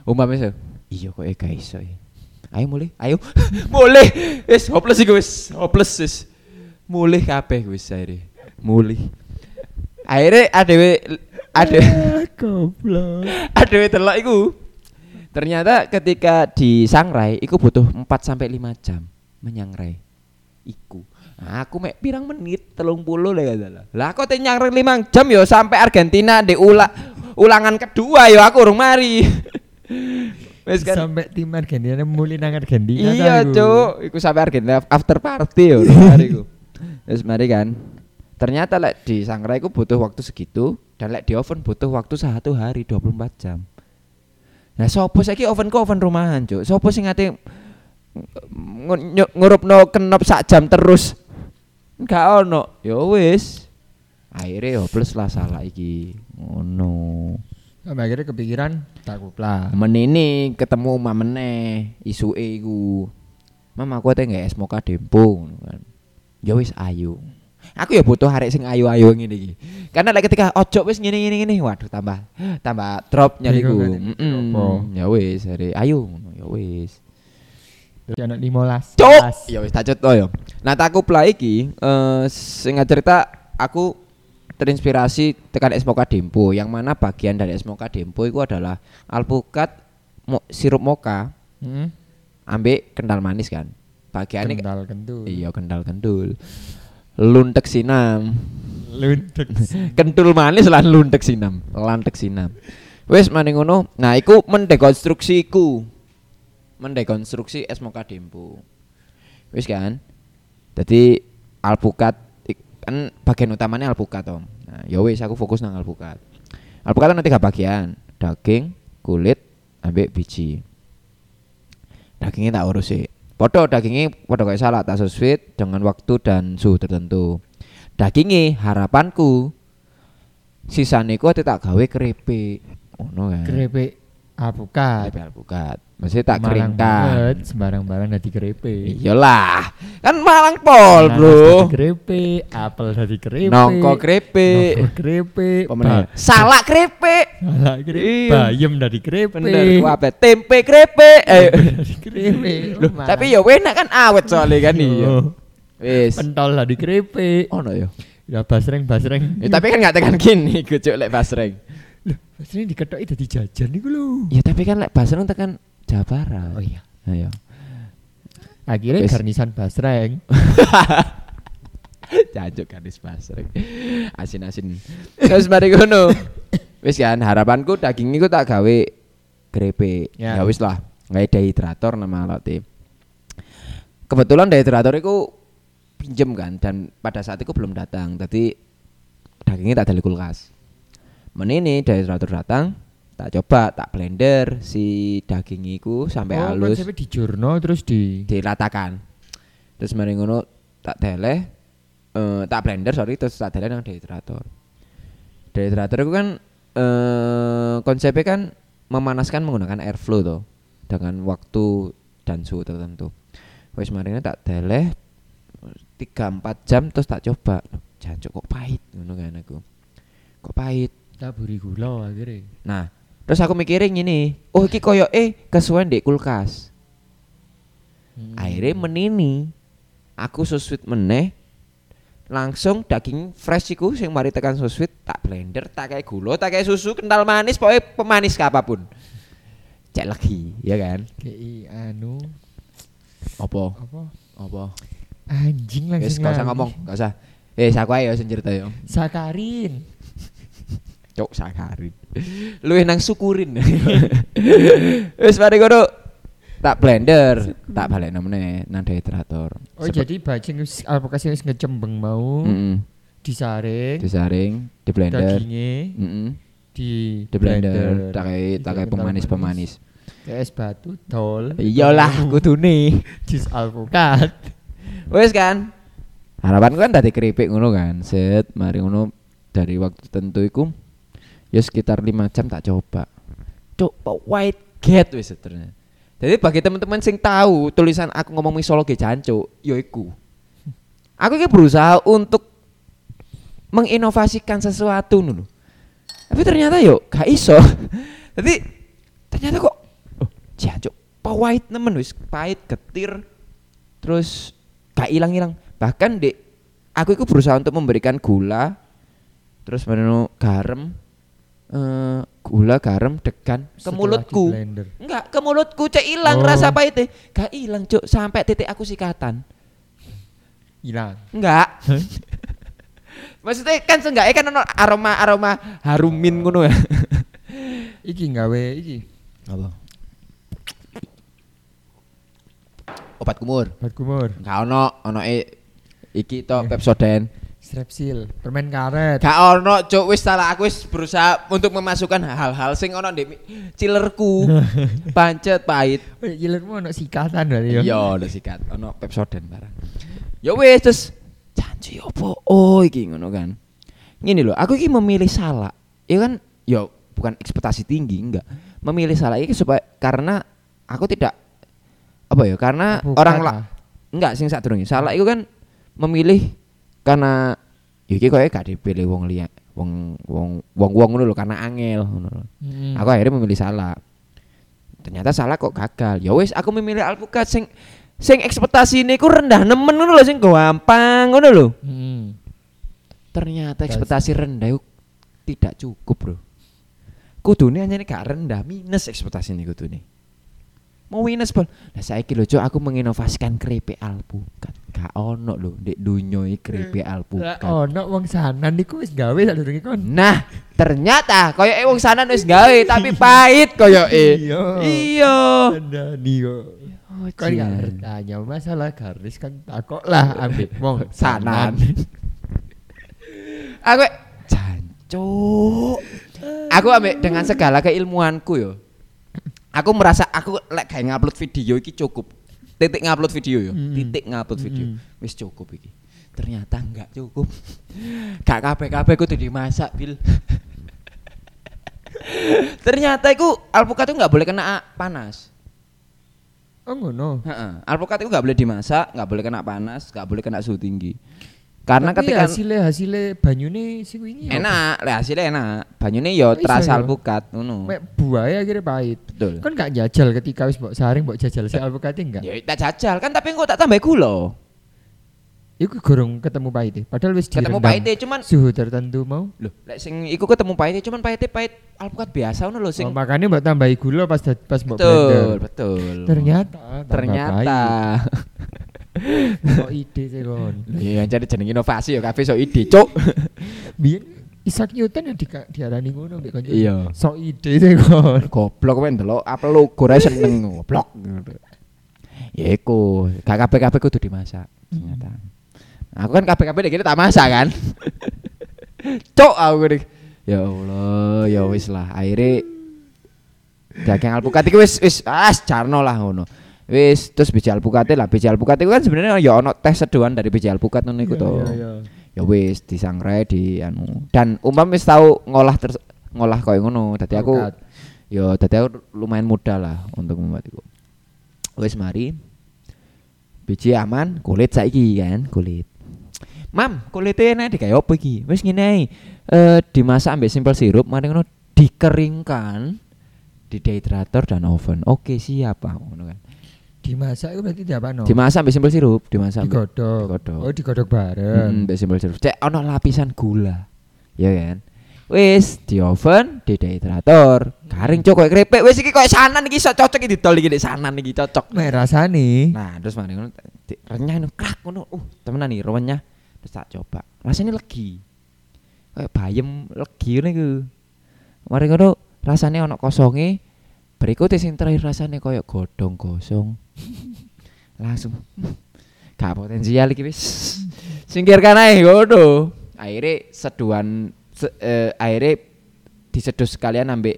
S3: Umam iso, iya kok ya gak iso ya. Ayo mulai, ayo. mulai. Wis hopeless iki wis, hopeless wis. Mulih kabeh wis akhirnya. Mulih. Akhirnya adewe adewe
S4: Ah, Goblok.
S3: Aduh telok iku. Ternyata ketika di sangrai iku butuh 4 sampai 5 jam menyangrai. Iku. Nah, aku mek pirang menit 30 lah gak salah. Lah aku teh nyangrai 5 jam yo sampai Argentina di ula- ulangan kedua yo aku urung mari. Wis kan.
S4: Sampai tim Argentina mulai nang Argentina.
S3: Iya,
S4: tahu.
S3: Cuk. Iku sampai Argentina after party yo urung mari iku. Terus mari kan. Ternyata lek di sangrai iku butuh waktu segitu dan lek di oven butuh waktu satu hari 24 jam. Nah, sopo saiki oven ku oven rumahan, Cuk. Sopo sing ate ngu- nyu- ngurupno kenop sak jam terus. Enggak ono. Ya wis. Akhirnya hopeless lah salah iki. Ngono.
S4: Sampai akhirnya kepikiran tak kuplah.
S3: Menini ketemu mama meneh isuke iku. Mam aku ate nggak es moka dempo ngono kan. Ya wis ayo. Aku ya butuh arek sing ayu-ayu ngene iki. Karena lek ketika ojo wis ngene ngene ngene waduh tambah tambah drop nyaliku.
S4: Bingung kan ini,
S3: Heeh.
S4: apa?
S3: Ya wis arek ayu ngono ya wis.
S4: Jadi anak 15.
S3: Cuk. Ya wis tak cetok ya. Nah tak play iki eh sing cerita aku terinspirasi tekan SMOK Dempo yang mana bagian dari SMOK Dempo itu adalah alpukat mo- sirup moka
S4: Hmm?
S3: ambek kental manis kan. Bagiannya
S4: Kental kentul.
S3: iya kental kendul. Luntek sinam.
S4: Luntek.
S3: Iya. kentul manis lan luntek sinam lantek sinam wes mane ngono nah iku mendekonstruksi iku mendekonstruksi SMK Dempo wes kan jadi alpukat ik- kan bagian utamanya alpukat om nah ya wes aku fokus nang alpukat alpukat kan ada tiga bagian daging kulit ambek biji dagingnya tak urus sih Podo dagingnya podo kayak salad tak sesuai dengan waktu dan suhu tertentu. Dagingnya harapanku sisane ku ate tak gawe keripik. Ngono kan.
S4: Kerepek apukat.
S3: Keripik alpukat. Mesti tak
S4: Malang banget,
S3: keringkan.
S4: sembarang-barang dadi kerepek.
S3: Iyalah, kan malang pol,
S4: Nanas
S3: Bro.
S4: dadi keripik, apel dari keripik,
S3: Nongko keripik.
S4: nongko keripik,
S3: Pemenang.
S4: ba-
S3: Salah keripik.
S4: salak
S3: Iya.
S4: keripik, bayam dari keripik,
S3: Bener, ku apa? Tempe keripik. Eh.
S4: dari keripik.
S3: Loh,
S4: Malah.
S3: tapi ya enak kan awet soalnya kan iya.
S4: Oh,
S3: Wis.
S4: pentol dari keripik,
S3: Ono ya.
S4: ya basreng basreng,
S3: Ya,
S4: Iya.
S3: tapi kan gak tekan gini, kucuk lek basreng.
S4: Loh, basreng diketok itu dijajan nih lo.
S3: Ya tapi kan lek basreng tekan Jawa Barat.
S4: Oh iya,
S3: Ayo. Wis.
S4: akhirnya garnisan basreng.
S3: Cajuk gadis basreng. Asin-asin. Terus mari ngono. Wis kan harapanku daging iku tak gawe grepe.
S4: Ya.
S3: Ya, wis lah. Gawe dehidrator nama alatnya. Kebetulan dehidrator iku pinjem kan dan pada saat itu belum datang. Jadi dagingnya tak ada di kulkas. Menini dehidrator datang, tak coba, tak blender si daging iku sampai
S4: oh,
S3: halus
S4: konsepnya dijurno terus di
S3: dilatakan terus mari ngono tak deleh eh, tak blender sorry terus tak deleh nang dehidrator dehidrator itu kan eh konsepnya kan memanaskan menggunakan airflow toh dengan waktu dan suhu tertentu wis marine tak deleh 3 4 jam terus tak coba Loh, jancuk kok pahit ngono kan aku kok pahit
S4: taburi gula akhirnya.
S3: Nah, terus aku mikirin gini, oh iki koyo eh kesuwen di kulkas.
S4: Hmm.
S3: Akhirnya menini, aku suswit meneh, langsung daging fresh iku sing mari tekan suswit tak blender, tak kayak gula, tak kayak susu, kental manis, pokoknya pemanis ke apapun. Cek lagi, ya kan?
S4: Ki anu
S3: Apa?
S4: apa?
S3: Apa?
S4: Anjing langsung.
S3: Wis gak usah
S4: lali.
S3: ngomong, gak usah. Eh, aku ayo sing cerita yo.
S4: Sakarin.
S3: Cok sakarin. Luwih nang syukurin. Wis mari ngono. Tak blender, tak balik meneh nang dehidrator.
S4: Oh
S3: Sebe-
S4: jadi bajing wis alpokasi wis ngecembeng mau
S3: Mm-mm.
S4: disaring
S3: disaring, di blender.
S4: dagingnya
S3: Mm-mm.
S4: di Iya,
S3: Di blender, tak kayak tak kayak pemanis-pemanis.
S4: Ya, es batu tol.
S3: Iyalah, kudune.
S4: jus alpukat.
S3: Wis kan. Harapanku kan dari keripik ngono kan. Set, mari ngono dari waktu tentu iku ya sekitar 5 jam tak coba. Coba white get wis ternyata. Jadi bagi teman-teman sing tahu tulisan aku ngomong misologi jancuk, ya iku. Aku iki berusaha untuk menginovasikan sesuatu dulu. Tapi ternyata yuk gak iso. Jadi ternyata kok oh, jancuk pahit nemen wis pahit getir terus gak hilang-hilang. Bahkan Dek, aku itu berusaha untuk memberikan gula terus menu garam eh gula garam degan ke
S4: Setelah
S3: mulutku.
S4: di blender.
S3: Enggak, ke mulutku cek hilang
S4: Oh.
S3: rasa pahitnya. Gak hilang, Cuk, sampai titik aku sikatan.
S4: Hilang.
S3: Enggak. Maksudnya kan seenggaknya kan ono aroma-aroma harumin ngono ya.
S4: Iki nggawe iki
S3: Apa? Obat kumur.
S4: obat kumur,
S3: Enggak ono, ono e iki to Pepsodent.
S4: strepsil, permen karet.
S3: Gak ono, cuk, wis salah aku wis berusaha untuk memasukkan hal-hal sing ono di mi- cilerku. Pancet pahit.
S4: Oh, Gilirmu ono sikatan berarti ya.
S3: Iya, udah sikat. Ono Pepsodent barang. Ya wis terus janji opo? Oh, iki ngono kan. Ngene lho, aku iki memilih salah. Ya kan, ya bukan ekspektasi tinggi enggak. Memilih salah iki supaya karena aku tidak apa ya? Karena
S4: Bukan
S3: orang
S4: lah.
S3: la, enggak sing sadurunge. Salah itu kan memilih karena ya iki koyo gak dipilih wong liya wong wong wong wong ngono lho karena angel ngono lho.
S4: Hmm.
S3: Aku akhirnya memilih salah. Ternyata salah kok gagal. Ya wis aku memilih alpukat sing sing ekspektasine ku rendah nemen ngono lho sing gampang ngono lho.
S4: Hmm.
S3: Ternyata ekspektasi rendah iku tidak cukup, Bro. Kudune anjene gak rendah, minus ekspektasine kudune. Mau minus, Bol. Lah saiki lho, Cuk, aku menginovasikan keripik alpukat. Gak ono lho ndek dunyo iki keripik
S4: Hmm. Lah oh.
S3: alpukat.
S4: ono wong sanan niku wis gawe sadurunge kon.
S3: Nah, ternyata koyoke wong sanan wis gawe tapi pahit koyoke.
S4: Iya.
S3: Iya.
S4: Kandani kok. Kan gak bertanya masalah garis kan takok lah ambek wong
S3: Sanan. Aku jancuk. Aku ambek dengan segala keilmuanku yo. Aku merasa aku lek gawe ngupload video iki cukup. Titik ngupload video yo, titik ngupload video. Wis cukup iki. Ternyata enggak cukup. Gak kabeh-kabeh kudu dimasak, Bil. Ternyata iku alpukat itu nggak boleh kena panas.
S4: Oh ngono.
S3: Heeh. Alpukat itu nggak boleh dimasak, nggak boleh kena panas, nggak boleh kena suhu tinggi. Karena
S4: Tapi
S3: ketika
S4: ya, hasilnya hasilnya banyune sing wingi ya.
S3: enak, lah hasilnya enak. Banyune yo
S4: Oh, iya,
S3: terasa
S4: iya.
S3: alpukat, ngono.
S4: Mek buaya akhirnya pahit.
S3: Betul.
S4: Kan gak jajal ketika wis mbok saring mbok jajal sik alpukate enggak.
S3: Ya tak jajal kan tapi engko tak tambah gula.
S4: Iku gorong ketemu pahit e. padahal wis
S3: Ketemu e.
S4: direndam.
S3: pahitnya cuman
S4: suhu tertentu mau.
S3: loh, lek sing iku ketemu pahitnya cuman pahitnya pahit alpukat biasa ngono lho sing.
S4: Oh, makanya mbok tambahi gula pas da- pas mbok
S3: betul,
S4: blender.
S3: betul.
S4: Ternyata tambah
S3: ternyata.
S4: pahit. Kok ide sih kon.
S3: Iya, yang jadi jeneng inovasi ya kafe so ide, cuk.
S4: Biyen Isaac Newton yang di, diarani ngono mbek kanca.
S3: Iya.
S4: Sok ide sih kon.
S3: Goblok kowe ndelok apa logo rae seneng goblok. Ya iku, gak kabeh-kabeh kudu dimasak ternyata. Aku kan kabeh-kabeh dek tak masak kan. Cok aku gini. Ya Allah, ya wis lah akhirnya daging alpukat itu wis wis as jarno lah ngono. Wis terus biji alpukat lah biji alpukat itu kan sebenarnya ya ono teh seduhan dari biji alpukat ngono
S4: Iya,
S3: iku
S4: Gitu.
S3: to. Ya wis disangrai di anu dan umpam wis tau ngolah ter, ngolah koyo ngono. Dadi aku
S4: Alpukat.
S3: ya dadi aku lumayan mudah lah untuk membuat iku. Wis mari. Biji aman, kulit saiki kan, kulit. Mam, kulitnya enak digawe opo iki? Wis ngene ae. Eh dimasak ambek simpel sirup, mari ngono dikeringkan di dehydrator dan oven. Oke, siap Pak. Ngono kan.
S4: Dimasak itu berarti diapakno?
S3: Dimasak ambek simpel sirup, dimasak. ambek-
S4: digodok.
S3: digodok.
S4: Oh, digodok bareng.
S3: Hmm, ambek simpel sirup. Cek ono lapisan gula. Ya kan? Wis di oven, di dehydrator, garing cok koyo keripik. Wis iki koyo sanan iki iso cocok iki didol iki nek sanan iki cocok.
S4: Mek rasane.
S3: Nah, terus mari ngono di- renyah ngono krak ngono. Uh, temenan nih renyah. Terus tak coba. Rasanya legi. Kayak bayem legi ngono iku. Mari ngono rasane ono kosonge. Berikutnya sing terakhir rasane koyo godhong kosong. Langsung gak potensial iki wis. Singkirkan ae ngono. Akhirnya seduhan se, eh, akhirnya diseduh sekalian ambek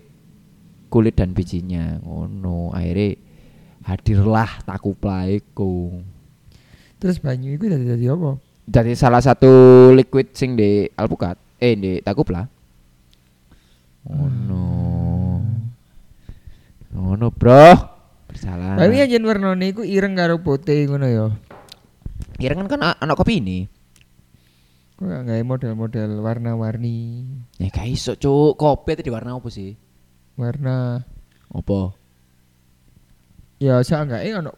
S3: kulit dan bijinya ngono. Akhirnya hadirlah taku plaiku.
S4: Terus banyu iku dadi dadi apa?
S3: Jadi salah satu liquid sing di alpukat, eh di takupla. Oh no. Oh no, bro. Bersalah.
S4: Tapi yang iya, yen wernane iku ireng karo putih ngono ya.
S3: Ireng kan kan a- anak kopi ini.
S4: Kok gak gawe model-model warna-warni.
S3: Ya gak iso, Cuk. Kopi tadi warna apa sih?
S4: Warna
S3: Apa?
S4: ya saenggake ono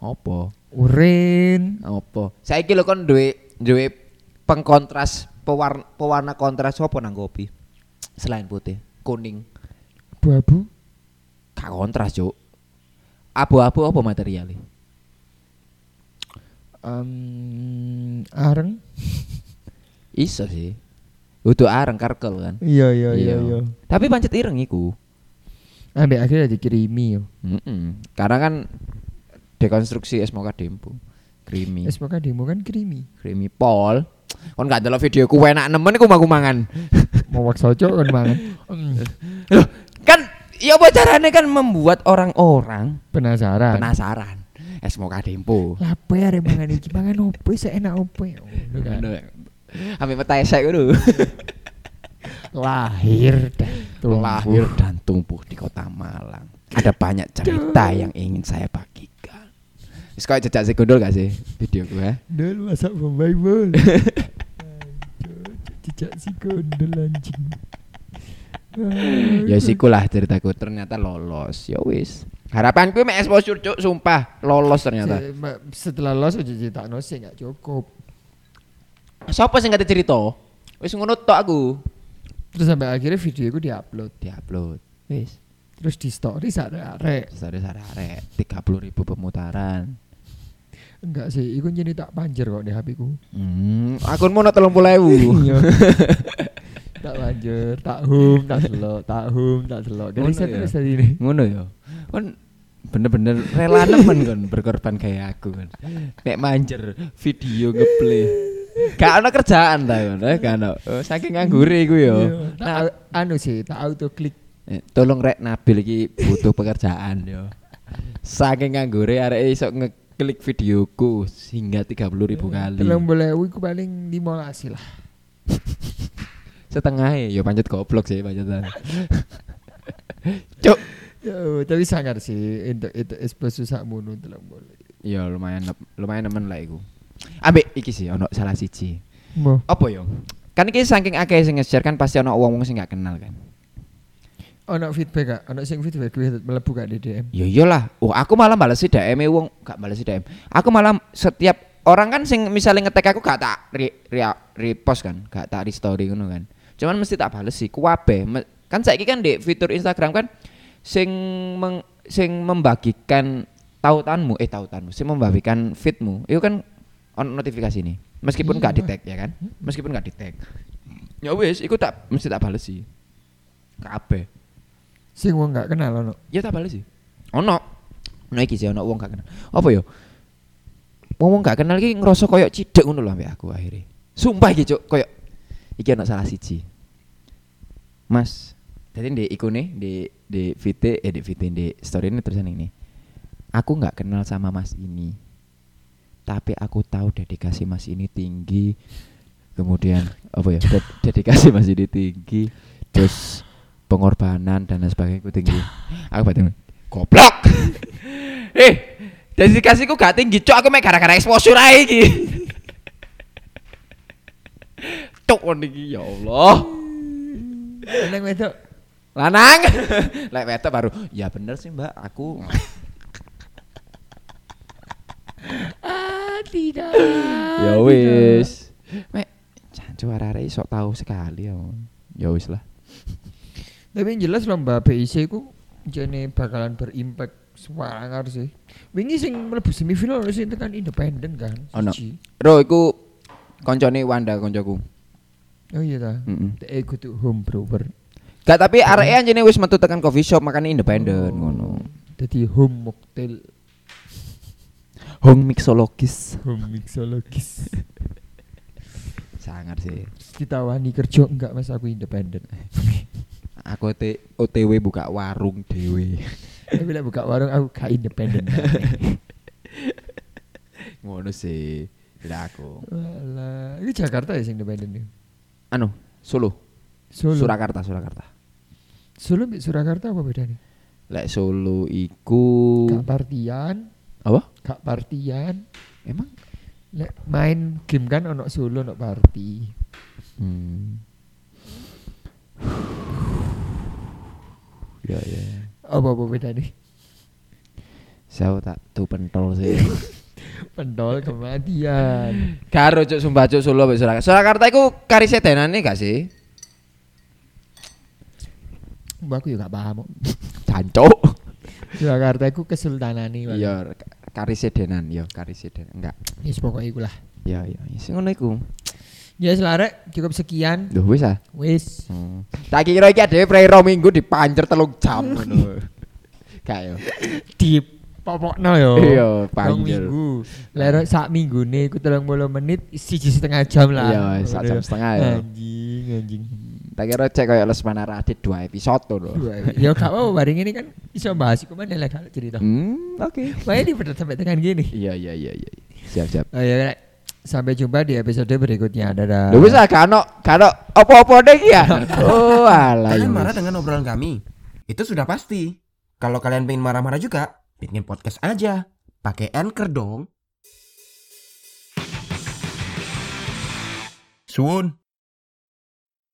S3: Apa?
S4: urin.
S3: Apa? Saiki lho kon duwe duwe pengkontras pewarna, pewarna kontras apa nang kopi? Selain putih, kuning.
S4: Babu.
S3: Gak kontras, Cuk. Abu-abu apa materialnya?
S4: Um, areng.
S3: Iso sih. Udah areng karkel kan.
S4: Iya iya iya
S3: Iya.
S4: iya.
S3: Tapi pancet ireng iku.
S4: Ambek akhirnya dikirimi yo.
S3: Mm-mm. Karena kan dekonstruksi es mocha dempo. Creamy.
S4: SPK demo kan kirimi.
S3: creamy pol. Kon gak ndelok video ku enak nemen iku mangku mangan.
S4: Mau waksa cok kan mangan. Hmm,
S3: Loh, kan ya apa caranya kan membuat orang-orang
S4: Penasaran.
S3: penasaran. Es mocha dempo.
S4: Lapo ya arek mangan iki mangan opo sih enak opo ya. Ngono kan.
S3: Ambil petai esek dulu.
S4: lahir dan tumbuh.
S3: Lahir dan tumbuh di kota Malang. Ada banyak cerita yang ingin saya bagikan. Wis koyo eh? jejak segundul gak sih video gue?
S4: Dan masak bombay bol. Cak si gondel anjing.
S3: ya sikulah ceritaku ternyata lolos ya wis harapanku mek exposure cuk sumpah lolos ternyata
S4: Se- ma- Ah, Setelah los aja cetakno sih gak cukup.
S3: Sopo sing kate cerita wis ngono tok aku
S4: Terus sampai akhirnya video itu diupload.
S3: diupload wis
S4: Terus di story arek-arek.
S3: sare sare arek 30 ribu pemutaran
S4: Enggak sih, iku jadi tak panjer kok di HP ku.
S3: hmm akunmu no
S4: Iya.
S3: 30.000
S4: tak panjer, tak hum, tak delok, tak hum, tak delok. Dari
S3: Ngono
S4: saya
S3: ya?
S4: terus tadi ini.
S3: ngono ya kon bener-bener rela nemen kon berkorban kayak aku kon nek manjer video ngeplay gak ono kerjaan ta kon eh, gak ono Oh, saking nganggure iku ya
S4: Tak au- anu sih, tak auto klik.
S3: Eh, tolong rek Nabil iki butuh pekerjaan yo. Saking nganggure arek iso ngeklik videoku hingga 30.000
S4: Iya.
S3: kali.
S4: Belum boleh, iku paling dimolasi lah.
S3: Setengah ya pancet goblok sih pancetan. Cuk.
S4: Ya, tapi sangar sih untuk itu espresso sakmu nu telung boleh.
S3: Ya lumayan lumayan nemen lah iku. Ambek iki sih ono salah siji.
S4: Mo.
S3: Apa yo? Kan iki saking akeh sing nge-share kan pasti ono wong-wong sing gak kenal kan.
S4: Ono feedback gak? Ono sing feedback kuwi mlebu gak di DM?
S3: Ya iyalah. Oh, aku malah balesi DM wong gak balesi DM. Aku malah setiap orang kan sing misalnya ngetek aku gak tak re, re- repost kan, gak tak restory ngono kan. Cuman mesti tak balesi kuwabe. Me- Kan saiki kan di fitur Instagram kan sing meng, sing membagikan tautanmu eh tautanmu sing membagikan feedmu itu kan on notifikasi ini meskipun gak di tag ya kan meskipun gak di tag ya wis iku tak mesti tak balesi kabeh
S4: Sing wong gak kenal ono.
S3: Ya tak bales sih. Ono. Ono iki sih ono wong gak kenal. Apa yo? Wong wong gak kenal iki ngerasa koyo cidek ngono lho ambek aku akhirnya. Sumpah iki cuk koyo iki ono salah siji. Mas, tadi di ikone di di VT eh di VT di story ini tulisan ini. Aku nggak kenal sama Mas ini. Tapi aku tahu dedikasi Mas ini tinggi. Kemudian apa ya? ded- dedikasi Mas ini tinggi. Terus pengorbanan dan lain sebagainya itu tinggi. Aku batin goblok. eh, dedikasiku gak tinggi, cok aku mek gara-gara exposure ae iki. Cok kon iki ya Allah.
S4: Nang wedok.
S3: Lanang. Lek wetok baru, ya bener sih Mbak, aku
S4: Ah, tidak.
S3: ya wis. Mek jancu arek-arek iso tahu sekali ya. Ya wis lah.
S4: Tapi yang jelas lomba BIC ku jane bakalan berimpact sangar sih. Wingi sing mlebu semifinal ono sing tekan independen kan.
S3: Ono.
S4: siji.
S3: Bro, iku koncone Wanda koncoku.
S4: Oh iya ta.
S3: Mm-mm.
S4: Eh kudu home brewer.
S3: Gak tapi arek anjene wis metu tekan coffee shop makane independen ngono.
S4: Oh. Dadi home mocktail,
S3: Home mixologis.
S4: home mixologis.
S3: Sangat sih.
S4: Ditawani kerja enggak Mas aku independen.
S3: Aku te- OTW buka warung dewe.
S4: Tapi lek buka warung aku gak independen.
S3: ngono sih. Lah aku.
S4: Walah, ini Jakarta ya sing independen. ya?
S3: Anu, Solo.
S4: Solo.
S3: Surakarta, Surakarta.
S4: Solo mbek Surakarta apa bedanya?
S3: Lek Solo iku
S4: Gak partian,
S3: apa?
S4: gak partian.
S3: Emang?
S4: Lek main game kan ono solo ono party.
S3: Hmm. ya ya.
S4: Apa apa bedane?
S3: Saya tak tuh pentol sih.
S4: Pendol kematian.
S3: Karo cuk sumpah cuk Solo ambek Surakarta. Surakarta iku karise denane gak sih?
S4: Mbak aku juga gak paham. kok.
S3: Jancuk.
S4: Jakarta iku kesultanane. Pak.
S3: Iya, ka- karise denan, ya karise denan. Enggak.
S4: Yes pokoknya iku lah.
S3: Ya ya, sing ngono iku.
S4: Ya selarek cukup sekian.
S3: Duh wis ah.
S4: Wis.
S3: Hmm. Tak kira iki dhewe prero minggu dipancer telung jam ngono. Gak yo.
S4: Di popokno yo.
S3: Iya,
S4: Telung
S3: panjer.
S4: Oh. minggu. Lerok sak minggu nih, iku telung puluh menit, siji setengah jam lah. Eh.
S3: Iya, sak jam setengah ya.
S4: Anjing, anjing.
S3: Tak kira cek koyo Lesmana Radit dua episode tuh lho.
S4: Dua. Ya gak apa-apa, bareng ini kan iso bahas iku mana lah kalau cerita.
S3: Hmm, oke.
S4: Makanya di pedot sampai tekan gini.
S3: Iya iya iya iya. Siap siap.
S4: Oh ya, Rek. sampai jumpa di episode berikutnya. Dadah.
S3: Lho wis ah gak ono gak ono apa-apa deh iki ya. Oh alah. ya
S1: Kalian
S3: wis.
S1: marah dengan obrolan kami? Itu sudah pasti. Kalau kalian pengen marah-marah juga, bikin podcast aja. Pakai Anchor dong. Suun.